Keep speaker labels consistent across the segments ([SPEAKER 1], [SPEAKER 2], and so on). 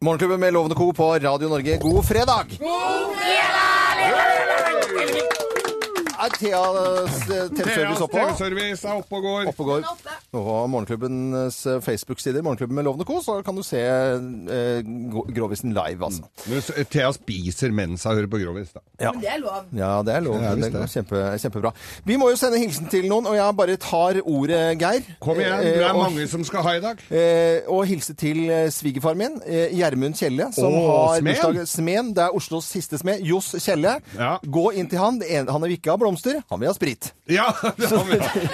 [SPEAKER 1] Morgenklubben med Lovende Co. på Radio Norge, god fredag! Er Thea eh, TV-service oppå?
[SPEAKER 2] TV-service er oppe og går.
[SPEAKER 1] Oppe og går. På morgenklubbens eh, Facebook-sider, Morgenklubben med Lovende Co., så kan du se eh, Gro- Grovisen live, altså.
[SPEAKER 2] Men så- Thea spiser mens hun hører på Grovis, da.
[SPEAKER 1] Ja.
[SPEAKER 3] Det er lov.
[SPEAKER 1] Ja, det er lov.
[SPEAKER 2] Ja,
[SPEAKER 1] det
[SPEAKER 2] visst
[SPEAKER 1] går
[SPEAKER 2] det.
[SPEAKER 1] kjempe, kjempebra. Vi må jo sende hilsen til noen, og jeg bare tar ordet, Geir.
[SPEAKER 2] Kom igjen, det
[SPEAKER 1] Eh,
[SPEAKER 2] er
[SPEAKER 1] og-
[SPEAKER 2] mange som skal ha i dag.
[SPEAKER 1] Eh, og hilse til eh, svigerfar min, eh, Gjermund Kjelle, som
[SPEAKER 2] Åh,
[SPEAKER 1] har
[SPEAKER 2] smeden.
[SPEAKER 1] bursdag. Smeden. Det er Oslos siste smed. Johs Kjelle.
[SPEAKER 2] Ja.
[SPEAKER 1] Gå inn til han. Det ene- Han vil ikke ha blomster, han vil ha sprit.
[SPEAKER 2] Ja, det har vi.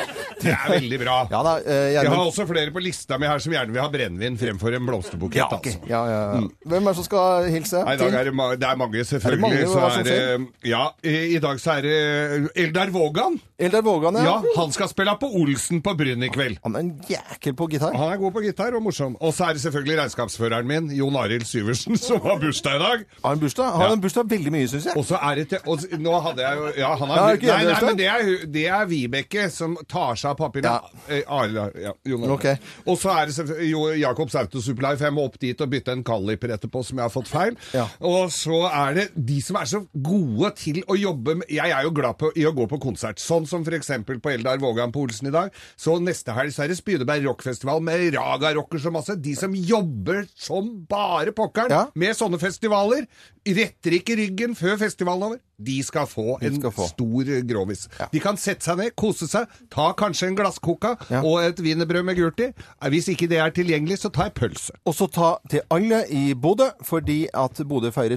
[SPEAKER 2] Det er veldig bra.
[SPEAKER 1] Ja da, eh,
[SPEAKER 2] Jeg har
[SPEAKER 1] Gjermund.
[SPEAKER 2] også flere på lista mi her som gjerne vil ha brennevin fremfor en blomsterbukett.
[SPEAKER 1] Ja, ok.
[SPEAKER 2] altså.
[SPEAKER 1] ja, ja, ja. Hvem er det som skal hilse?
[SPEAKER 2] Nei, I dag er det, ma det er mange, selvfølgelig.
[SPEAKER 1] Er det mange,
[SPEAKER 2] så
[SPEAKER 1] hva som
[SPEAKER 2] er det, ja, i, I dag så er det Eldar Vågan.
[SPEAKER 1] Eldar Vågan, ja.
[SPEAKER 2] Ja, Han skal spille på Olsen på Bryn i kveld.
[SPEAKER 1] Han er en jækel på gitar.
[SPEAKER 2] Han er god på gitar og morsom. Og så er det selvfølgelig regnskapsføreren min, Jon Arild Syversen, som har bursdag i dag.
[SPEAKER 1] Har han bursdag? Har han
[SPEAKER 2] Ja.
[SPEAKER 1] en bursdag veldig mye, syns jeg.
[SPEAKER 2] Og så er det til, og, s- Nå hadde jeg jo Ja, han er,
[SPEAKER 1] Ja, er det ikke
[SPEAKER 2] nei, nei,
[SPEAKER 1] gjennomslag?
[SPEAKER 2] men det er, hu- det er Vibeke som tar seg av papirene.
[SPEAKER 1] Ja.
[SPEAKER 2] Eh, Arild, ja, Jon Arild.
[SPEAKER 1] Ok.
[SPEAKER 2] Og så er det selvfø- jo Jacobs Autosupply, for jeg må opp dit og bytte en caliper etterpå som jeg har fått feil.
[SPEAKER 1] Ja.
[SPEAKER 2] Og så er det de som er så gode til å jobbe med Jeg er jo glad på, i å gå på konsert, sånn som f.eks. på Eldar Vågan på Olsen i dag. Så neste helg så er det Spydeberg rockfestival med Raga Rockers og masse. De som jobber som bare pokkeren
[SPEAKER 1] Ja.
[SPEAKER 2] med sånne festivaler, retter ikke ryggen før festivalen er over. De skal få en
[SPEAKER 1] skal få.
[SPEAKER 2] stor eh, grovis.
[SPEAKER 1] Ja.
[SPEAKER 2] De kan sette seg ned, kose seg, ta kanskje en glasskoka
[SPEAKER 1] Ja.
[SPEAKER 2] og et wienerbrød med gult i. Eh, Hvis ikke det er tilgjengelig, så tar jeg pølse.
[SPEAKER 1] Og så ta til alle i Bodø, fordi at Bodø feirer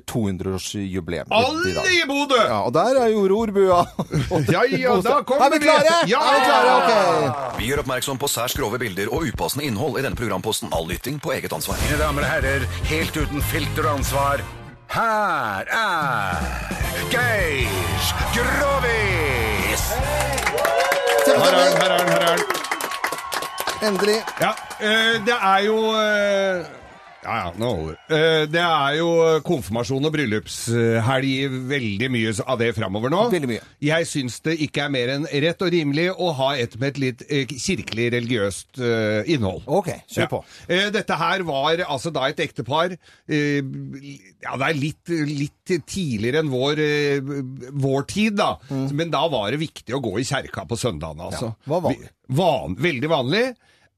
[SPEAKER 1] 200-årsjubileum i
[SPEAKER 2] Alle
[SPEAKER 1] dag.
[SPEAKER 2] i Bodø!
[SPEAKER 1] Ja, og der er jo rorbua.
[SPEAKER 2] Ja, ja, da kommer
[SPEAKER 1] Er vi klare?
[SPEAKER 2] vi. Ja!
[SPEAKER 1] Er vi klare? Ok.
[SPEAKER 4] Vi gjør oppmerksom på særs grove bilder og upassende innhold i denne programposten. All lytting på eget ansvar.
[SPEAKER 5] Mine damer og herrer, helt uten filter og ansvar, her er Geir Grovis!
[SPEAKER 2] Her er den,
[SPEAKER 1] Kjempestemning.
[SPEAKER 2] her er den, her er den.
[SPEAKER 1] Endelig.
[SPEAKER 2] Ja, eh, det er jo eh, ja, ja, nå holder det. Eh, Det er jo eh, konfirmasjon og bryllupshelg eh, veldig mye av det framover nå.
[SPEAKER 1] Veldig mye.
[SPEAKER 2] Jeg syns det ikke er mer enn rett og rimelig å ha et med et litt eh, kirkelig religiøst eh, innhold.
[SPEAKER 1] OK, kjør
[SPEAKER 2] Ja.
[SPEAKER 1] på.
[SPEAKER 2] Eh, Dette her var altså da et ektepar eh, Ja, det er litt, litt tidligere enn vår, eh, vår tid, da. Men da var det viktig å gå i kjerka på søndagene, altså.
[SPEAKER 1] Mm. Ja, var vanlig.
[SPEAKER 2] Vi- Van, veldig vanlig.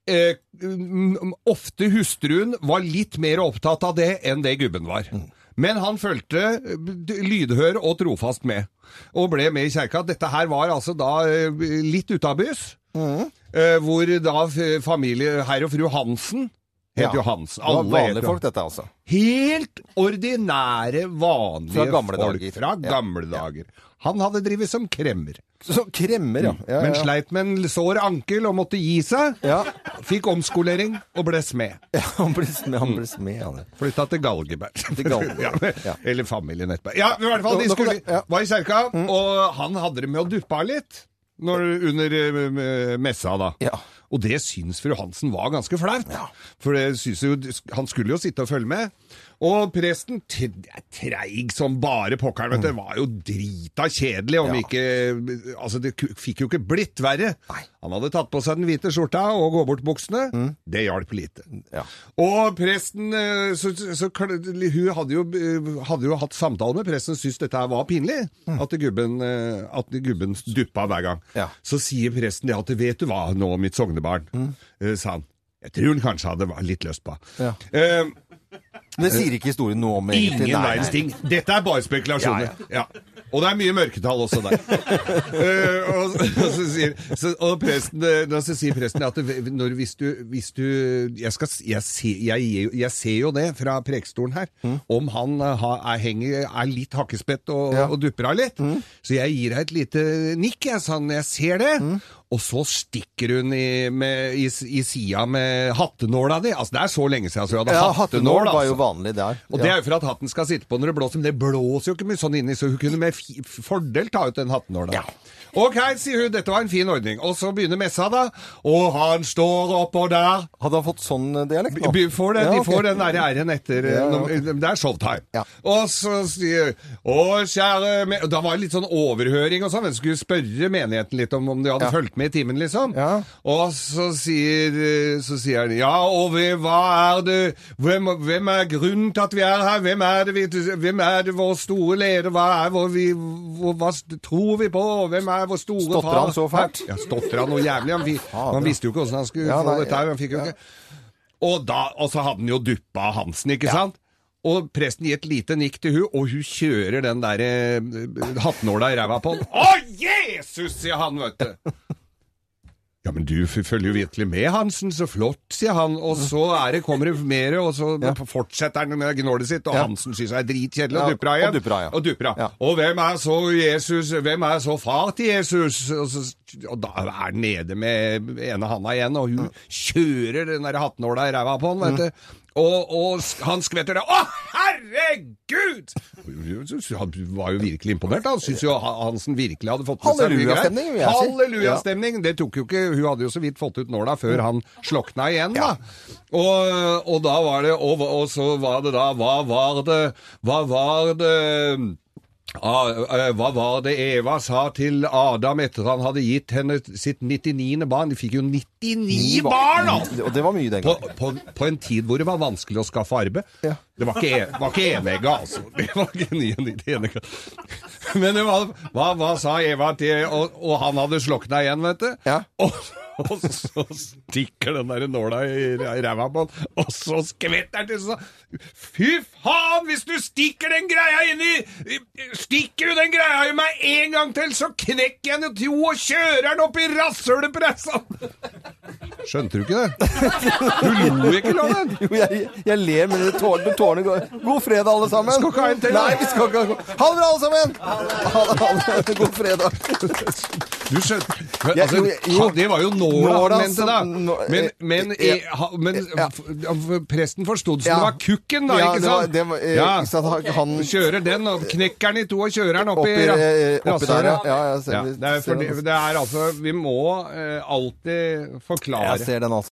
[SPEAKER 2] Eh, mm, ofte hustruen var litt mer opptatt av det enn det gubben var.
[SPEAKER 1] Mm.
[SPEAKER 2] Men han fulgte eh, lydhør og trofast med, og ble med i kjerka. Dette her var altså da eh, litt utabys. Eh, hvor da f- familie herr og fru Hansen het
[SPEAKER 1] Ja.
[SPEAKER 2] jo Hansen.
[SPEAKER 1] Det var
[SPEAKER 2] Alle het
[SPEAKER 1] vanlige
[SPEAKER 2] jo-
[SPEAKER 1] folk, dette, altså.
[SPEAKER 2] Helt ordinære, vanlige
[SPEAKER 1] Fra gamle
[SPEAKER 2] folk
[SPEAKER 1] dager.
[SPEAKER 2] fra
[SPEAKER 1] Ja.
[SPEAKER 2] gamle dager. Han hadde drevet som kremmer,
[SPEAKER 1] Så kremmer, ja. ja,
[SPEAKER 2] Mm. men
[SPEAKER 1] ja.
[SPEAKER 2] sleit med en sår ankel og måtte gi seg.
[SPEAKER 1] Ja.
[SPEAKER 2] Fikk omskolering og ble smed.
[SPEAKER 1] ja, han ble smed, han. Ble smed, han.
[SPEAKER 2] Flytta til Galgeberg.
[SPEAKER 1] Galgeberg,
[SPEAKER 2] ja, men-
[SPEAKER 1] ja.
[SPEAKER 2] Eller familien etterpå. Ja, men i hvert fall,
[SPEAKER 1] Nå-
[SPEAKER 2] de
[SPEAKER 1] nå kom
[SPEAKER 2] skulle,
[SPEAKER 1] det, ja. Mm.
[SPEAKER 2] var i kjerka, og han hadde det med å duppe av litt når, under eh, messa, da.
[SPEAKER 1] Ja.
[SPEAKER 2] Og det syns fru Hansen var ganske flaut. For det syns jo, han skulle jo sitte og følge med. Og presten, t- treig som bare pokkeren, vet du, var jo drita kjedelig om
[SPEAKER 1] Mm. Ja.
[SPEAKER 2] ikke Altså, det ku- fikk jo ikke blitt verre. Han hadde tatt på seg den hvite skjorta og gåbortbuksene. Det hjalp lite.
[SPEAKER 1] Mm. Ja.
[SPEAKER 2] Og presten eh, så, så, kl- Hun hadde jo, eh, hadde jo hatt samtale med presten, syntes dette her var pinlig. At, gubben, eh, at gubben duppa hver gang.
[SPEAKER 1] Mm. Ja.
[SPEAKER 2] Så sier presten det at 'Vet du hva, nå, mitt sognebarn', eh, sa han. Jeg tror hun kanskje hadde vært litt lyst på.
[SPEAKER 1] Mm. Ja.
[SPEAKER 2] Eh,
[SPEAKER 1] Det sier ikke historien noe om, egentlig.
[SPEAKER 2] ingen
[SPEAKER 1] Nei, nei.
[SPEAKER 2] verdens ting. Dette er bare spekulasjoner. Ja, Og det er mye mørketall også der. Eh, og, og, så sier, så, og presten, eh, da så sier presten at det- når, hvis, du, hvis du Jeg, skal, s- jeg, ser, jeg, gir jo- jeg ser jo det fra prekestolen her,
[SPEAKER 1] Mm.
[SPEAKER 2] om han eh, har- er, henger, er litt hakkespett og,
[SPEAKER 1] Ja. Mm.
[SPEAKER 2] og dupper av litt. Så jeg gir deg et lite nikk, jeg, sa han. Jeg ser det.
[SPEAKER 1] Mm.
[SPEAKER 2] Og så stikker hun i, med, i, s- i sida med hattenåla di. Altså, det er så lenge siden. Altså, hun hadde
[SPEAKER 1] Ja,
[SPEAKER 2] hattenål,
[SPEAKER 1] Hattenål var
[SPEAKER 2] altså.
[SPEAKER 1] jo vanlig der. Ja.
[SPEAKER 2] Og det er jo for at hatten skal sitte på når det blåser, men det blåser jo ikke mye sånn inni, så hun kunne med fi- fordel ta ut den hattenåla.
[SPEAKER 1] Ja.
[SPEAKER 2] Ok, sier hun, dette var en fin ordning. Og så begynner messa, da. Og han står oppå der.
[SPEAKER 1] Hadde han fått sånn eh, dialekt nå?
[SPEAKER 2] Vi får det,
[SPEAKER 1] Ja,
[SPEAKER 2] De
[SPEAKER 1] ok.
[SPEAKER 2] får den der æren etter eh,
[SPEAKER 1] Ja, ja,
[SPEAKER 2] når- Det er showtime.
[SPEAKER 1] Ja.
[SPEAKER 2] Og så sier Å, kjære me-» og Da var det litt sånn overhøring og sånn. men så skulle spørre menigheten litt om om de
[SPEAKER 1] Ja.
[SPEAKER 2] hadde fulgt med i timen, liksom.
[SPEAKER 1] Ja.
[SPEAKER 2] Og så sier, eh, så sier han Ja, og vi- hva er det hvem, hvem er grunnen til at vi er her? Hvem er det, vi, hvem er det vår store leder? Hva er vår vi hvor, Hva st- tror vi på? Hvem er vår store
[SPEAKER 1] Stotrer
[SPEAKER 2] far?
[SPEAKER 1] han så fælt?
[SPEAKER 2] Ja, stotrer han noe jævlig? Han, vi,
[SPEAKER 1] Fader.
[SPEAKER 2] han visste jo ikke åssen han skulle
[SPEAKER 1] Ja,
[SPEAKER 2] få
[SPEAKER 1] nei,
[SPEAKER 2] dette her. Han fikk jo ikke og, da, og så hadde han jo duppa Hansen, ikke sant? Og presten gir et lite nikk til hun, og hun kjører den der eh, hattenåla i ræva på han. Å, Jesus, sier han, vet du! Ja, men du f- følger jo virkelig med, Hansen, så flott, sier han. Og så er det, kommer det mer, og så fortsetter han med gnålet sitt, og
[SPEAKER 1] Ja.
[SPEAKER 2] Hansen synes det er dritkjedelig,
[SPEAKER 1] Ja,
[SPEAKER 2] og dupper av igjen.
[SPEAKER 1] og dupper av, ja.
[SPEAKER 2] Og dupper av.
[SPEAKER 1] Ja.
[SPEAKER 2] Og hvem er så Jesus, hvem er så far til Jesus? Og, så, og da er han nede med ene handa igjen, og hun kjører den der hattenåla i ræva på han, vet du. Og, og sk- han skvetter det. Å, herregud! Han var jo virkelig imponert. Han syntes jo Hansen virkelig hadde fått med seg mye greier.
[SPEAKER 1] Hallelujastemning, vil jeg si.
[SPEAKER 2] Hallelujastemning stemning. Det tok jo ikke, Hun hadde jo så vidt fått ut nåla
[SPEAKER 1] Mm.
[SPEAKER 2] før han slokna igjen, da. Og, og da var det og, og så var det da Hva var det Hva var det Ah, eh, hva var det Eva sa til Adam etter han hadde gitt henne sitt 99. barn? De fikk jo 99 barn! altså!
[SPEAKER 1] Og det var mye den
[SPEAKER 2] På,
[SPEAKER 1] gangen.
[SPEAKER 2] på, på en tid hvor det var vanskelig å skaffe arbeid.
[SPEAKER 1] Ja.
[SPEAKER 2] Det var ikke, e- var ikke enegga, altså. Det var ikke ni- ni- det enegga. Men det var, hva, hva sa Eva til Og, og han hadde slokna igjen, vet du.
[SPEAKER 1] Ja.
[SPEAKER 2] Og, og så stikker den der nåla i r- i ræva på han, og så skvetter han til sånn. Fy faen, hvis du stikker den greia inn i Stikker du den greia i meg en gang til, så knekker jeg den i to og kjører den opp i rasshølet på deg, sånn. Skjønte du ikke det? Du lo ikke, Loven.
[SPEAKER 1] Jo, jeg, jeg ler, men det tår- men tårene går. God fredag, alle sammen.
[SPEAKER 2] Skal ikke ha en til, da?
[SPEAKER 1] Nei, vi skal ikke ha Ha det bra, alle sammen! Ha det, ha det. God fredag.
[SPEAKER 2] Du skjønte
[SPEAKER 1] Ja,
[SPEAKER 2] altså,
[SPEAKER 1] jo, jo.
[SPEAKER 2] han- Det var jo nåla
[SPEAKER 1] Nåla
[SPEAKER 2] han mente, da.
[SPEAKER 1] som- nå-
[SPEAKER 2] Men,
[SPEAKER 1] eh,
[SPEAKER 2] men,
[SPEAKER 1] ja.
[SPEAKER 2] eh, ha- men
[SPEAKER 1] Ja.
[SPEAKER 2] f- f- presten forstod som
[SPEAKER 1] Ja.
[SPEAKER 2] det var kukken, da,
[SPEAKER 1] Ja,
[SPEAKER 2] ikke
[SPEAKER 1] det var-
[SPEAKER 2] sant?
[SPEAKER 1] det var, eh,
[SPEAKER 2] Ja.
[SPEAKER 1] ikke sant, han- han-
[SPEAKER 2] Kjører den, og knekker den i to og kjører den opp
[SPEAKER 1] Oppi,
[SPEAKER 2] i ra-
[SPEAKER 1] eh, oppi der, ja.
[SPEAKER 2] rasshølet.
[SPEAKER 1] ja, jeg ser,
[SPEAKER 2] Ja, det, er fordi, det er altså Vi må eh, alltid forklare
[SPEAKER 1] Jeg ser den, altså.